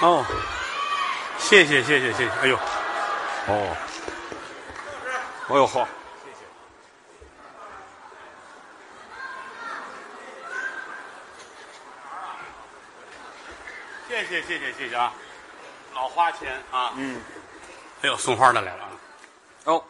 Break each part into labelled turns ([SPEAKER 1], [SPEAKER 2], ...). [SPEAKER 1] 哦，谢谢谢谢谢谢，哎呦，哦，哎呦好，谢谢谢谢谢谢啊，老花钱啊，嗯，哎呦送花的来了啊，
[SPEAKER 2] 哦，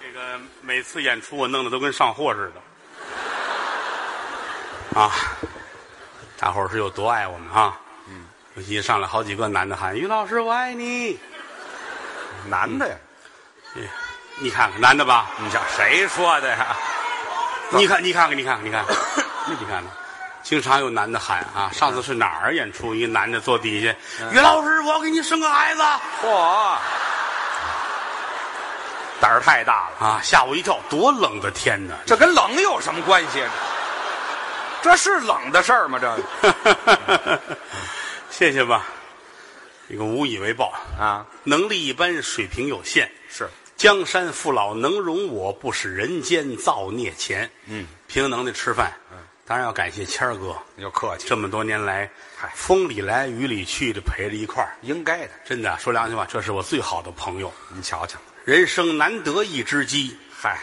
[SPEAKER 1] 这个每次演出我弄得都跟上货似的，啊，大伙儿是有多爱我们啊？嗯，尤其上来好几个男的喊于老师我爱你，
[SPEAKER 2] 男的呀？
[SPEAKER 1] 你看看男的吧，
[SPEAKER 2] 你想谁说的呀？
[SPEAKER 1] 你看你看看你看看你看 看，你看看。经常有男的喊啊！上次是哪儿演出？一个男的坐底下，
[SPEAKER 2] 嗯
[SPEAKER 1] 于老师，我要给你生个孩子
[SPEAKER 2] 嚯，胆儿太大了，
[SPEAKER 1] 啊！吓我一跳，多冷的天呐！
[SPEAKER 2] 这跟冷有什么关系？啊这是冷的事儿吗？这个
[SPEAKER 1] 谢谢吧，这个无以为报，
[SPEAKER 2] 啊，
[SPEAKER 1] 能力一般，水平有限。
[SPEAKER 2] 是
[SPEAKER 1] 江山父老能容我，不使人间造孽钱。嗯，凭能耐吃饭。嗯，当然要感谢谦儿哥，
[SPEAKER 2] 你就客气，
[SPEAKER 1] 这么多年来
[SPEAKER 2] 嗨，
[SPEAKER 1] 风里来雨里去的陪着一块儿。
[SPEAKER 2] 应该的。
[SPEAKER 1] 真的说良心话，这是我最好的朋友，
[SPEAKER 2] 你瞧瞧，
[SPEAKER 1] 人生难得一知己。
[SPEAKER 2] 嗨，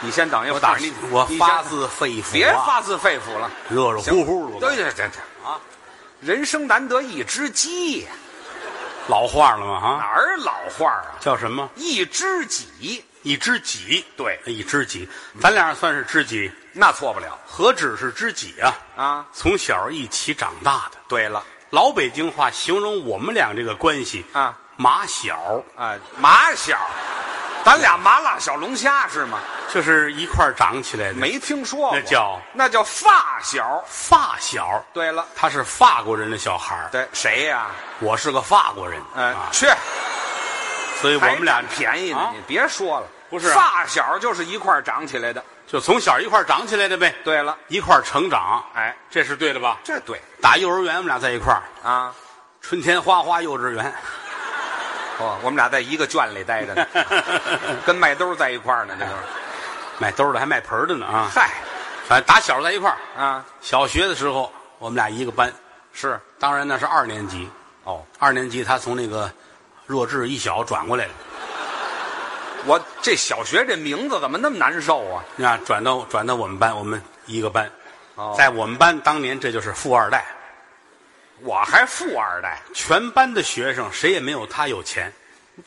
[SPEAKER 2] 你先等一会
[SPEAKER 1] 我
[SPEAKER 2] 儿，
[SPEAKER 1] 打
[SPEAKER 2] 你
[SPEAKER 1] 我
[SPEAKER 2] 你
[SPEAKER 1] 发
[SPEAKER 2] 先
[SPEAKER 1] 自肺腑、啊，
[SPEAKER 2] 别发自肺腑了，
[SPEAKER 1] 热热乎乎的我都
[SPEAKER 2] 对对对对啊，人生难得一知己呀，
[SPEAKER 1] 老话了嘛
[SPEAKER 2] 哪
[SPEAKER 1] 啊，
[SPEAKER 2] 儿老话啊？
[SPEAKER 1] 叫什么？
[SPEAKER 2] 一知己，
[SPEAKER 1] 一知己，
[SPEAKER 2] 对
[SPEAKER 1] 一知己，咱俩算是知己，
[SPEAKER 2] 那错不了
[SPEAKER 1] 何止是知己啊！
[SPEAKER 2] 啊。
[SPEAKER 1] 从小一起长大的，
[SPEAKER 2] 对了
[SPEAKER 1] 老北京话形容我们俩这个关系
[SPEAKER 2] 啊，
[SPEAKER 1] 马小
[SPEAKER 2] 啊，麻小，咱俩麻辣小龙虾是吗？
[SPEAKER 1] 就是一块儿长起来的，
[SPEAKER 2] 没听说过，
[SPEAKER 1] 那叫
[SPEAKER 2] 那叫发小。
[SPEAKER 1] 发小，
[SPEAKER 2] 对了，
[SPEAKER 1] 他是法国人的小孩儿，
[SPEAKER 2] 对谁呀、
[SPEAKER 1] 我是个法国人，
[SPEAKER 2] 嗯、
[SPEAKER 1] 啊，
[SPEAKER 2] 去，
[SPEAKER 1] 所以我们俩
[SPEAKER 2] 还占便宜呢，
[SPEAKER 1] 啊
[SPEAKER 2] 你别说了，
[SPEAKER 1] 不是啊
[SPEAKER 2] 发小就是一块儿长起来的。
[SPEAKER 1] 就从小一块儿长起来的呗，
[SPEAKER 2] 对了，
[SPEAKER 1] 一块儿成长，
[SPEAKER 2] 哎，
[SPEAKER 1] 这是对的吧？
[SPEAKER 2] 这对
[SPEAKER 1] 打幼儿园我们俩在一块儿，
[SPEAKER 2] 啊，
[SPEAKER 1] 春天花花幼稚 园，
[SPEAKER 2] 哦，我们俩在一个圈里待着呢，跟麦兜在一块儿呢，这就是。
[SPEAKER 1] 卖兜儿的还卖盆儿的呢啊，
[SPEAKER 2] 嗨，
[SPEAKER 1] 反正打小在一块儿。
[SPEAKER 2] 啊，
[SPEAKER 1] 小学的时候我们俩一个班，
[SPEAKER 2] 是
[SPEAKER 1] 当然那是二年级，
[SPEAKER 2] 哦，
[SPEAKER 1] 二年级他从那个弱智一小转过来了，
[SPEAKER 2] 我这小学这名字怎么那么难受啊？
[SPEAKER 1] 啊，转到转到我们班，我们一个班，
[SPEAKER 2] 哦
[SPEAKER 1] 在我们班当年这就是富二代，
[SPEAKER 2] 我还富二代，
[SPEAKER 1] 全班的学生谁也没有他有钱，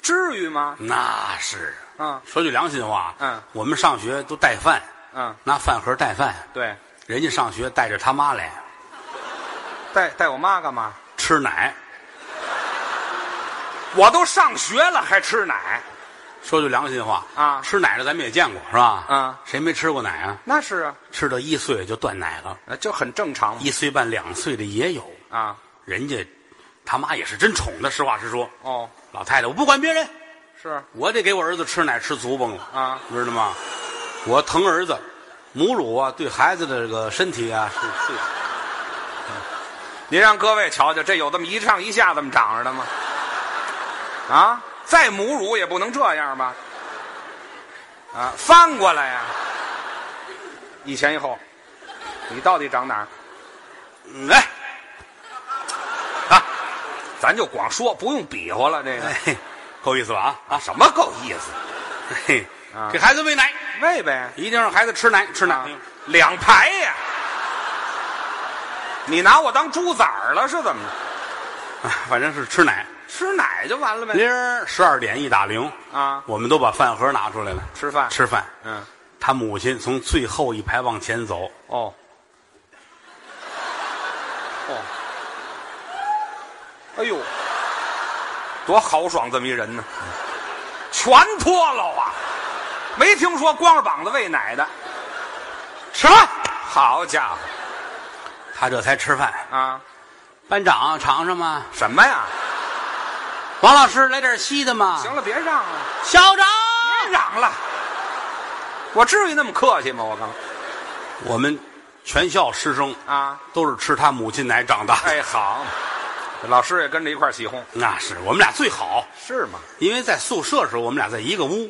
[SPEAKER 2] 至于吗？
[SPEAKER 1] 那是，
[SPEAKER 2] 嗯
[SPEAKER 1] 说句良心话，
[SPEAKER 2] 嗯，
[SPEAKER 1] 我们上学都带饭，
[SPEAKER 2] 嗯，
[SPEAKER 1] 拿饭盒带饭，
[SPEAKER 2] 对，
[SPEAKER 1] 人家上学带着他妈来
[SPEAKER 2] 带带我妈干嘛？
[SPEAKER 1] 吃奶，
[SPEAKER 2] 我都上学了还吃奶，
[SPEAKER 1] 说句良心话
[SPEAKER 2] 啊
[SPEAKER 1] 吃奶的咱们也见过是吧？
[SPEAKER 2] 嗯
[SPEAKER 1] 谁没吃过奶啊？
[SPEAKER 2] 那是啊，
[SPEAKER 1] 吃到一岁就断奶了，
[SPEAKER 2] 呃就很正常嘛
[SPEAKER 1] 一岁半、两岁的也有。
[SPEAKER 2] 啊。
[SPEAKER 1] 人家他妈也是真宠的，实话实说。
[SPEAKER 2] 哦，
[SPEAKER 1] 老太太，我不管别人，
[SPEAKER 2] 是
[SPEAKER 1] 我得给我儿子吃奶吃足崩了
[SPEAKER 2] 啊，
[SPEAKER 1] 知道吗？我疼儿子，母乳啊，对孩子的这个身体啊是最
[SPEAKER 2] 您让各位瞧瞧，这有这么一上一下这么长着的吗？啊，再母乳也不能这样吧？啊，翻过来呀、一前一后，你到底长哪儿？
[SPEAKER 1] 嗯哎
[SPEAKER 2] 咱就光说，不用比划了。这个
[SPEAKER 1] 哎，够意思吧啊
[SPEAKER 2] 啊，什么够意思？
[SPEAKER 1] 啊！嘿
[SPEAKER 2] 啊，
[SPEAKER 1] 给孩子喂奶，
[SPEAKER 2] 喂呗，
[SPEAKER 1] 一定让孩子吃奶吃奶。
[SPEAKER 2] 啊两排呀、你拿我当猪崽儿了是怎么着？
[SPEAKER 1] 啊反正是吃奶。
[SPEAKER 2] 吃奶就完了呗。
[SPEAKER 1] 铃儿十二点一打铃
[SPEAKER 2] 啊
[SPEAKER 1] 我们都把饭盒拿出来了，
[SPEAKER 2] 吃饭，
[SPEAKER 1] 吃饭。
[SPEAKER 2] 嗯，
[SPEAKER 1] 他母亲从最后一排往前走，
[SPEAKER 2] 哦，哦，哎呦，多豪爽这么一人呢，全脱了啊！没听说光着膀子喂奶的，
[SPEAKER 1] 吃饭，
[SPEAKER 2] 好家
[SPEAKER 1] 他这才吃饭。
[SPEAKER 2] 伙啊！
[SPEAKER 1] 班长尝尝吗？
[SPEAKER 2] 什么呀？
[SPEAKER 1] 王老师来点稀的吗？
[SPEAKER 2] 行了，别嚷了，
[SPEAKER 1] 校长，
[SPEAKER 2] 别嚷了，我至于那么客气吗？我刚
[SPEAKER 1] 我们全校师生
[SPEAKER 2] 嗯啊！
[SPEAKER 1] 都是吃他母亲奶长大的，
[SPEAKER 2] 哎，好，老师也跟着一块儿起哄，
[SPEAKER 1] 那是我们俩最好，
[SPEAKER 2] 是吗？
[SPEAKER 1] 因为在宿舍时候我们俩在一个屋，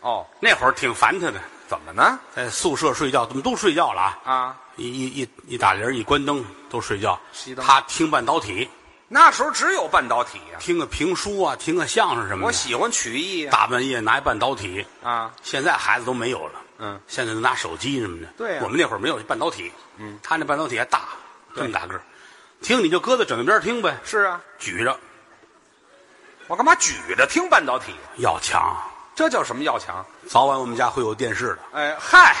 [SPEAKER 2] 哦，
[SPEAKER 1] 那会儿挺烦他的，
[SPEAKER 2] 怎么呢？
[SPEAKER 1] 在宿舍睡觉，怎么都睡觉了啊？
[SPEAKER 2] 啊，
[SPEAKER 1] 一一一一打铃一关灯都睡觉
[SPEAKER 2] 熄，灯
[SPEAKER 1] 他听半导体，
[SPEAKER 2] 那时候只有半导体呀、
[SPEAKER 1] 听个评书啊，听个相声什么
[SPEAKER 2] 我
[SPEAKER 1] 的，
[SPEAKER 2] 喜欢曲艺呀、
[SPEAKER 1] 大半夜拿一半导体，
[SPEAKER 2] 啊。
[SPEAKER 1] 现在孩子都没有了，
[SPEAKER 2] 嗯，
[SPEAKER 1] 现在都拿手机什么的。
[SPEAKER 2] 对啊呀
[SPEAKER 1] 我们那会儿没有半导体，嗯，他那半导体还大，这么大个儿，听你就搁在枕头边儿听呗，
[SPEAKER 2] 是啊，
[SPEAKER 1] 举着
[SPEAKER 2] 我干嘛举着听半导体？
[SPEAKER 1] 要强。
[SPEAKER 2] 这叫什么要强？
[SPEAKER 1] 早晚我们家会有电视的，
[SPEAKER 2] 哎，嗨，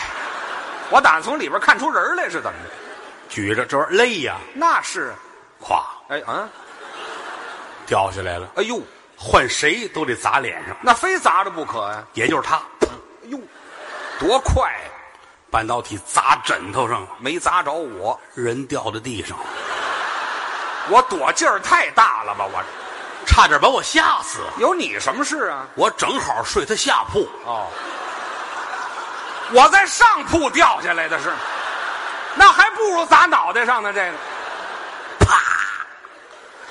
[SPEAKER 2] 我打算从里边看出人儿来是怎么的？
[SPEAKER 1] 举着这玩意儿累呀，
[SPEAKER 2] 那是，啊
[SPEAKER 1] 咵
[SPEAKER 2] 哎啊，
[SPEAKER 1] 掉下来了，
[SPEAKER 2] 哎呦，
[SPEAKER 1] 换谁都得砸脸上，
[SPEAKER 2] 那非砸着不可呀、
[SPEAKER 1] 也就是他，
[SPEAKER 2] 哎呦，多快呀、
[SPEAKER 1] 半导体砸枕头上了，
[SPEAKER 2] 没砸着我，
[SPEAKER 1] 人掉在地上了，
[SPEAKER 2] 我躲劲儿太大了吧？我这
[SPEAKER 1] 差点把我吓死。
[SPEAKER 2] 有你什么事啊？
[SPEAKER 1] 我正好睡他下铺，
[SPEAKER 2] 哦，我在上铺掉下来的是，那还不如砸脑袋上呢。这个，啪！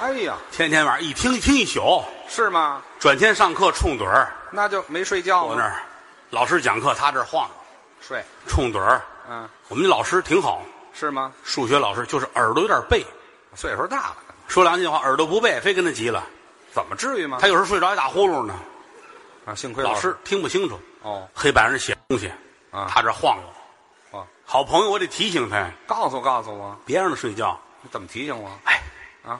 [SPEAKER 2] 哎呀，
[SPEAKER 1] 天天晚上一听一听一宿，
[SPEAKER 2] 是吗？
[SPEAKER 1] 转天上课冲盹儿，
[SPEAKER 2] 那就没睡觉
[SPEAKER 1] 我
[SPEAKER 2] 吗
[SPEAKER 1] 那儿老师讲课，他这儿晃悠
[SPEAKER 2] 睡，
[SPEAKER 1] 冲盹儿。
[SPEAKER 2] 嗯，
[SPEAKER 1] 我们老师挺好，
[SPEAKER 2] 是吗？
[SPEAKER 1] 数学老师就是耳朵有点背，
[SPEAKER 2] 岁数大了，
[SPEAKER 1] 说良心话，耳朵不背，非跟他急了。
[SPEAKER 2] 怎么至于吗？
[SPEAKER 1] 他有时候睡着还打呼噜呢，
[SPEAKER 2] 啊，幸亏
[SPEAKER 1] 老
[SPEAKER 2] 师
[SPEAKER 1] 师听不清楚，
[SPEAKER 2] 哦
[SPEAKER 1] 黑板上写东西，
[SPEAKER 2] 啊
[SPEAKER 1] 他这晃悠。
[SPEAKER 2] 哦，
[SPEAKER 1] 好朋友，我得提醒他，
[SPEAKER 2] 告诉告诉我，
[SPEAKER 1] 别让他睡觉。
[SPEAKER 2] 你怎么提醒我？
[SPEAKER 1] 哎，
[SPEAKER 2] 啊，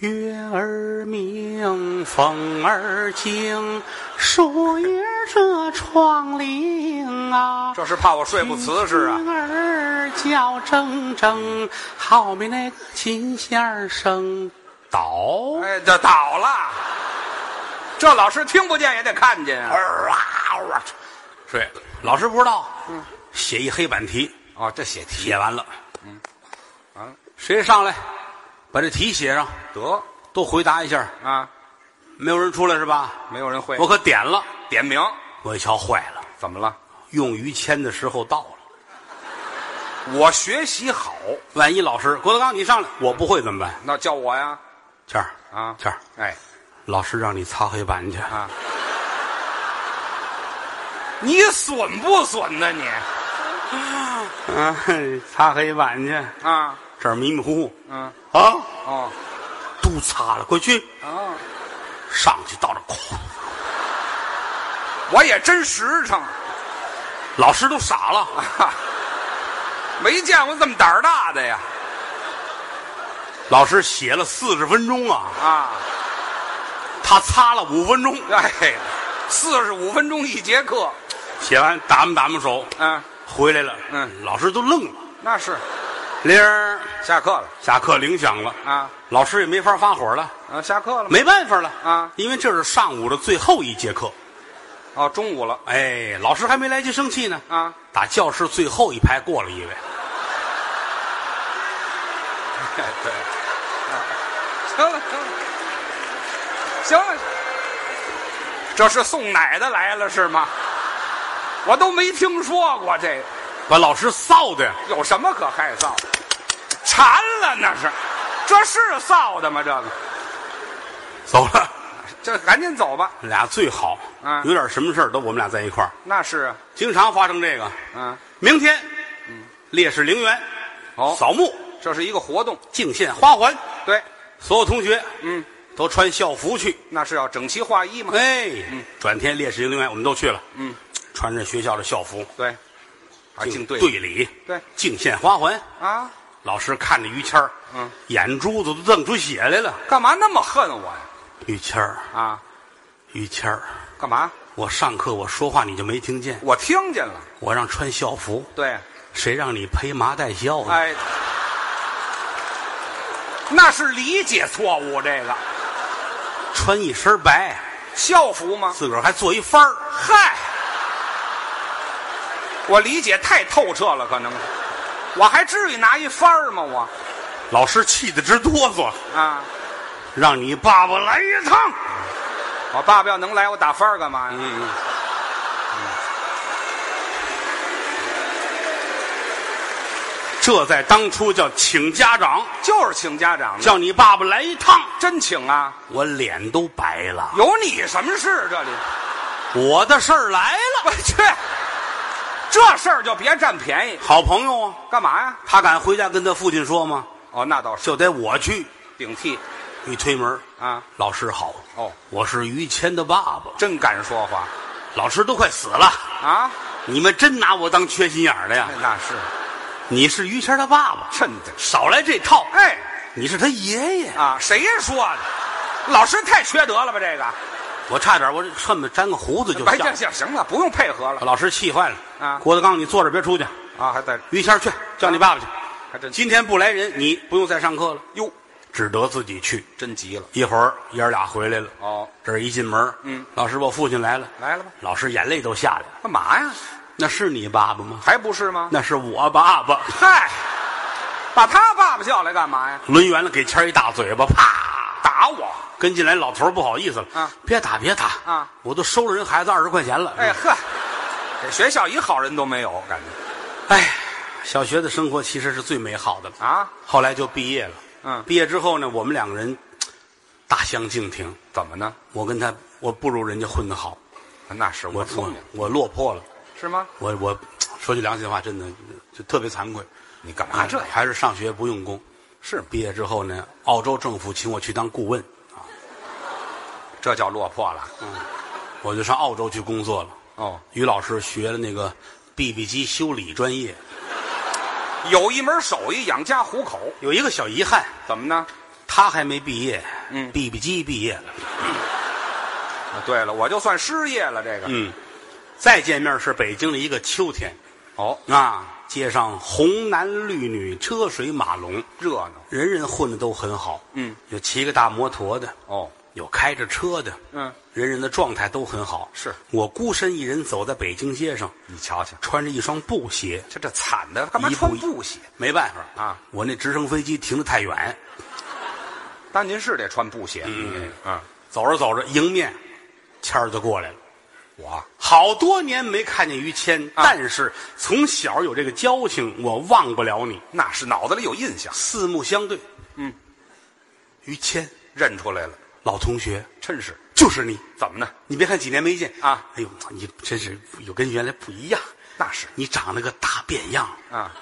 [SPEAKER 1] 月儿明，风儿轻，树叶遮窗棂啊。
[SPEAKER 2] 这是怕我睡不瓷实啊。
[SPEAKER 1] 听儿叫铮铮，好比那个琴弦儿声倒
[SPEAKER 2] 哎，这倒了，这老师听不见也得看见啊。
[SPEAKER 1] 儿哎啊，嗯睡。老师不知道，写一黑板题，
[SPEAKER 2] 哦，这写题
[SPEAKER 1] 写完了，嗯，
[SPEAKER 2] 完了，
[SPEAKER 1] 谁上来把这题写上，
[SPEAKER 2] 得
[SPEAKER 1] 都回答一下。
[SPEAKER 2] 啊，
[SPEAKER 1] 没有人出来是吧？
[SPEAKER 2] 没有人会
[SPEAKER 1] 我可点了，
[SPEAKER 2] 点名，
[SPEAKER 1] 我一瞧坏了，
[SPEAKER 2] 怎么了？
[SPEAKER 1] 用于谦的时候到了。
[SPEAKER 2] 我学习好，
[SPEAKER 1] 万一老师郭德纲你上来，我不会怎么办？
[SPEAKER 2] 那叫我呀
[SPEAKER 1] 谦儿，
[SPEAKER 2] 啊，
[SPEAKER 1] 谦儿，
[SPEAKER 2] 哎
[SPEAKER 1] 老师让你擦黑板去。
[SPEAKER 2] 啊，你损不损呢你？
[SPEAKER 1] 啊，擦黑板去，
[SPEAKER 2] 啊，
[SPEAKER 1] 这儿迷迷糊糊
[SPEAKER 2] 嗯，
[SPEAKER 1] 啊，
[SPEAKER 2] 哦
[SPEAKER 1] 都擦了，快去
[SPEAKER 2] 哦，
[SPEAKER 1] 上去到这，哐，
[SPEAKER 2] 我也真实诚。
[SPEAKER 1] 老师都傻了。
[SPEAKER 2] 没见过这么胆儿大的呀！
[SPEAKER 1] 老师写了四十分钟啊，
[SPEAKER 2] 啊，
[SPEAKER 1] 他擦了五分钟，
[SPEAKER 2] 哎，四十五分钟一节课，
[SPEAKER 1] 写完打磨打磨手
[SPEAKER 2] 啊，
[SPEAKER 1] 回来了。
[SPEAKER 2] 嗯，
[SPEAKER 1] 老师都愣了。
[SPEAKER 2] 那是
[SPEAKER 1] 铃儿，
[SPEAKER 2] 下课了
[SPEAKER 1] 下课铃响了，
[SPEAKER 2] 啊，
[SPEAKER 1] 老师也没法发火了，
[SPEAKER 2] 啊，下课了吗？
[SPEAKER 1] 没办法了
[SPEAKER 2] 啊，
[SPEAKER 1] 因为这是上午的最后一节课。
[SPEAKER 2] 哦，中午了
[SPEAKER 1] 哎，老师还没来及生气呢，
[SPEAKER 2] 啊，
[SPEAKER 1] 打教室最后一排过了一位，
[SPEAKER 2] 对，行了行了，行了，这是送奶的来了是吗？我都没听说过这个，
[SPEAKER 1] 把老师臊的呀。
[SPEAKER 2] 有什么可害臊的？馋了那是，这是臊的吗？这个，
[SPEAKER 1] 走了。
[SPEAKER 2] 这赶紧走吧。
[SPEAKER 1] 俩最好，
[SPEAKER 2] 嗯
[SPEAKER 1] 有点什么事儿都我们俩在一块儿，
[SPEAKER 2] 那是啊，
[SPEAKER 1] 经常发生这个。
[SPEAKER 2] 嗯，
[SPEAKER 1] 明天，烈士陵园，
[SPEAKER 2] 哦，
[SPEAKER 1] 扫墓，
[SPEAKER 2] 这是一个活动，
[SPEAKER 1] 敬献花环，
[SPEAKER 2] 对，
[SPEAKER 1] 所有同学，
[SPEAKER 2] 嗯，
[SPEAKER 1] 都穿校服去。
[SPEAKER 2] 那是要整齐划一嘛。
[SPEAKER 1] 哎，转天烈士陵园我们都去了，
[SPEAKER 2] 嗯，
[SPEAKER 1] 穿着学校的校服，
[SPEAKER 2] 对，啊，敬队
[SPEAKER 1] 队礼，
[SPEAKER 2] 对
[SPEAKER 1] 敬献花环。
[SPEAKER 2] 啊，
[SPEAKER 1] 老师看着于谦儿，
[SPEAKER 2] 嗯，
[SPEAKER 1] 眼珠子都瞪出血来了。
[SPEAKER 2] 干嘛那么恨我呀？
[SPEAKER 1] 于谦儿，
[SPEAKER 2] 啊，
[SPEAKER 1] 于谦儿，
[SPEAKER 2] 干嘛？
[SPEAKER 1] 我上课我说话你就没听见，
[SPEAKER 2] 我听见了。
[SPEAKER 1] 我让穿校服，
[SPEAKER 2] 对，
[SPEAKER 1] 谁让你披麻戴孝呢？
[SPEAKER 2] 哎，那是理解错误。这个
[SPEAKER 1] 穿一身白，
[SPEAKER 2] 校服吗？
[SPEAKER 1] 自个儿还做一幡儿，
[SPEAKER 2] 嗨，我理解太透彻了，可能是。我还至于拿一番儿吗？我
[SPEAKER 1] 老师气得直哆嗦，
[SPEAKER 2] 啊，
[SPEAKER 1] 让你爸爸来一趟。
[SPEAKER 2] 我爸爸要能来，我打番儿干嘛呀？
[SPEAKER 1] 嗯，这在当初叫请家长，
[SPEAKER 2] 就是请家长的，
[SPEAKER 1] 叫你爸爸来一趟，
[SPEAKER 2] 真请啊！
[SPEAKER 1] 我脸都白了。
[SPEAKER 2] 有你什么事？这里，
[SPEAKER 1] 我的事儿来了，
[SPEAKER 2] 我去，这事儿就别占便宜，
[SPEAKER 1] 好朋友啊，
[SPEAKER 2] 干嘛呀？
[SPEAKER 1] 他敢回家跟他父亲说吗？
[SPEAKER 2] 哦，那倒是
[SPEAKER 1] 就得我去。
[SPEAKER 2] 顶替
[SPEAKER 1] 一推门，
[SPEAKER 2] 啊！
[SPEAKER 1] 老师好，
[SPEAKER 2] 哦，
[SPEAKER 1] 我是于谦的爸爸。
[SPEAKER 2] 真敢说话
[SPEAKER 1] 老师都快死了，
[SPEAKER 2] 啊！
[SPEAKER 1] 你们真拿我当缺心眼儿的呀
[SPEAKER 2] 那？那是
[SPEAKER 1] 你是于谦他爸爸，
[SPEAKER 2] 真的，
[SPEAKER 1] 少来这套。
[SPEAKER 2] 哎
[SPEAKER 1] 你是他爷爷，
[SPEAKER 2] 啊！谁说的？老师太缺德了吧？这个，
[SPEAKER 1] 我差点我这恨不得粘个胡子就
[SPEAKER 2] 哎，
[SPEAKER 1] 笑
[SPEAKER 2] 行。行行了，不用配合了
[SPEAKER 1] 老师气坏了
[SPEAKER 2] 啊
[SPEAKER 1] 郭德纲，你坐着别出去，
[SPEAKER 2] 啊！还在
[SPEAKER 1] 于谦儿去叫你爸爸去。
[SPEAKER 2] 还真
[SPEAKER 1] 今天不来人，你不用再上课了，
[SPEAKER 2] 哟，
[SPEAKER 1] 只得自己去。
[SPEAKER 2] 真急了
[SPEAKER 1] 一会儿爷儿俩回来了，
[SPEAKER 2] 哦！
[SPEAKER 1] 这儿一进门，
[SPEAKER 2] 嗯，
[SPEAKER 1] 老师，我父亲来了，
[SPEAKER 2] 来了吧？
[SPEAKER 1] 老师眼泪都下来了。
[SPEAKER 2] 干嘛呀？
[SPEAKER 1] 那是你爸爸吗？
[SPEAKER 2] 还不是吗？
[SPEAKER 1] 那是我爸爸。
[SPEAKER 2] 嗨，把他爸爸叫来干嘛呀？
[SPEAKER 1] 抡圆了给谦儿一大嘴巴，啪！
[SPEAKER 2] 打我！
[SPEAKER 1] 跟进来老头儿不好意思了，
[SPEAKER 2] 啊，
[SPEAKER 1] 别打别打
[SPEAKER 2] 啊！
[SPEAKER 1] 我都收了人孩子二十块钱了。
[SPEAKER 2] 哎呵，这学校一好人都没有，感觉
[SPEAKER 1] 哎，小学的生活其实是最美好的了。
[SPEAKER 2] 啊？
[SPEAKER 1] 后来就毕业了，
[SPEAKER 2] 嗯
[SPEAKER 1] 毕业之后呢，我们两个人大相径庭。
[SPEAKER 2] 怎么呢？
[SPEAKER 1] 我跟他，我不如人家混得好，
[SPEAKER 2] 那是我
[SPEAKER 1] 我
[SPEAKER 2] 聪
[SPEAKER 1] 我
[SPEAKER 2] 明，
[SPEAKER 1] 我落魄了，
[SPEAKER 2] 是吗？
[SPEAKER 1] 我我说句良心话，真的就特别惭愧
[SPEAKER 2] 你干嘛这样？
[SPEAKER 1] 啊还是上学不用功。
[SPEAKER 2] 是
[SPEAKER 1] 毕业之后呢，澳洲政府请我去当顾问，
[SPEAKER 2] 这叫落魄了。
[SPEAKER 1] 我就上澳洲去工作了。
[SPEAKER 2] 哦，
[SPEAKER 1] 于老师学了那个 BB 机修理专业，
[SPEAKER 2] 有一门手艺养家糊口，
[SPEAKER 1] 有一个小遗憾，
[SPEAKER 2] 怎么呢？
[SPEAKER 1] 他还没毕业，
[SPEAKER 2] 嗯
[SPEAKER 1] ，BB 机毕业了，
[SPEAKER 2] 啊对了，我就算失业了。这个，
[SPEAKER 1] 嗯，再见面是北京的一个秋天
[SPEAKER 2] 哦，
[SPEAKER 1] 啊，街上红男绿女，车水马龙，
[SPEAKER 2] 热闹。
[SPEAKER 1] 人人混的都很好，
[SPEAKER 2] 嗯，
[SPEAKER 1] 有骑个大摩托的，
[SPEAKER 2] 哦，
[SPEAKER 1] 有开着车的，
[SPEAKER 2] 嗯，
[SPEAKER 1] 人人的状态都很好。
[SPEAKER 2] 是
[SPEAKER 1] 我孤身一人走在北京街上，
[SPEAKER 2] 你瞧瞧，
[SPEAKER 1] 穿着一双布鞋，
[SPEAKER 2] 这这惨的，干嘛
[SPEAKER 1] 一步
[SPEAKER 2] 穿
[SPEAKER 1] 一
[SPEAKER 2] 布鞋？
[SPEAKER 1] 没办法
[SPEAKER 2] 啊，
[SPEAKER 1] 我那直升飞机停得太远，
[SPEAKER 2] 但您是得穿布鞋。嗯嗯，
[SPEAKER 1] 走着走着，迎面谦儿就过来了。
[SPEAKER 2] 我
[SPEAKER 1] 好多年没看见于谦，
[SPEAKER 2] 啊
[SPEAKER 1] 但是从小有这个交情，我忘不了你。
[SPEAKER 2] 那是脑子里有印象，
[SPEAKER 1] 四目相对，
[SPEAKER 2] 嗯，
[SPEAKER 1] 于谦
[SPEAKER 2] 认出来了，
[SPEAKER 1] 老同学
[SPEAKER 2] 真是。
[SPEAKER 1] 就是你。
[SPEAKER 2] 怎么呢？
[SPEAKER 1] 你别看几年没见
[SPEAKER 2] 啊，
[SPEAKER 1] 哎呦，你真是有跟原来不一样，
[SPEAKER 2] 那是
[SPEAKER 1] 你长了个大变样。
[SPEAKER 2] 啊，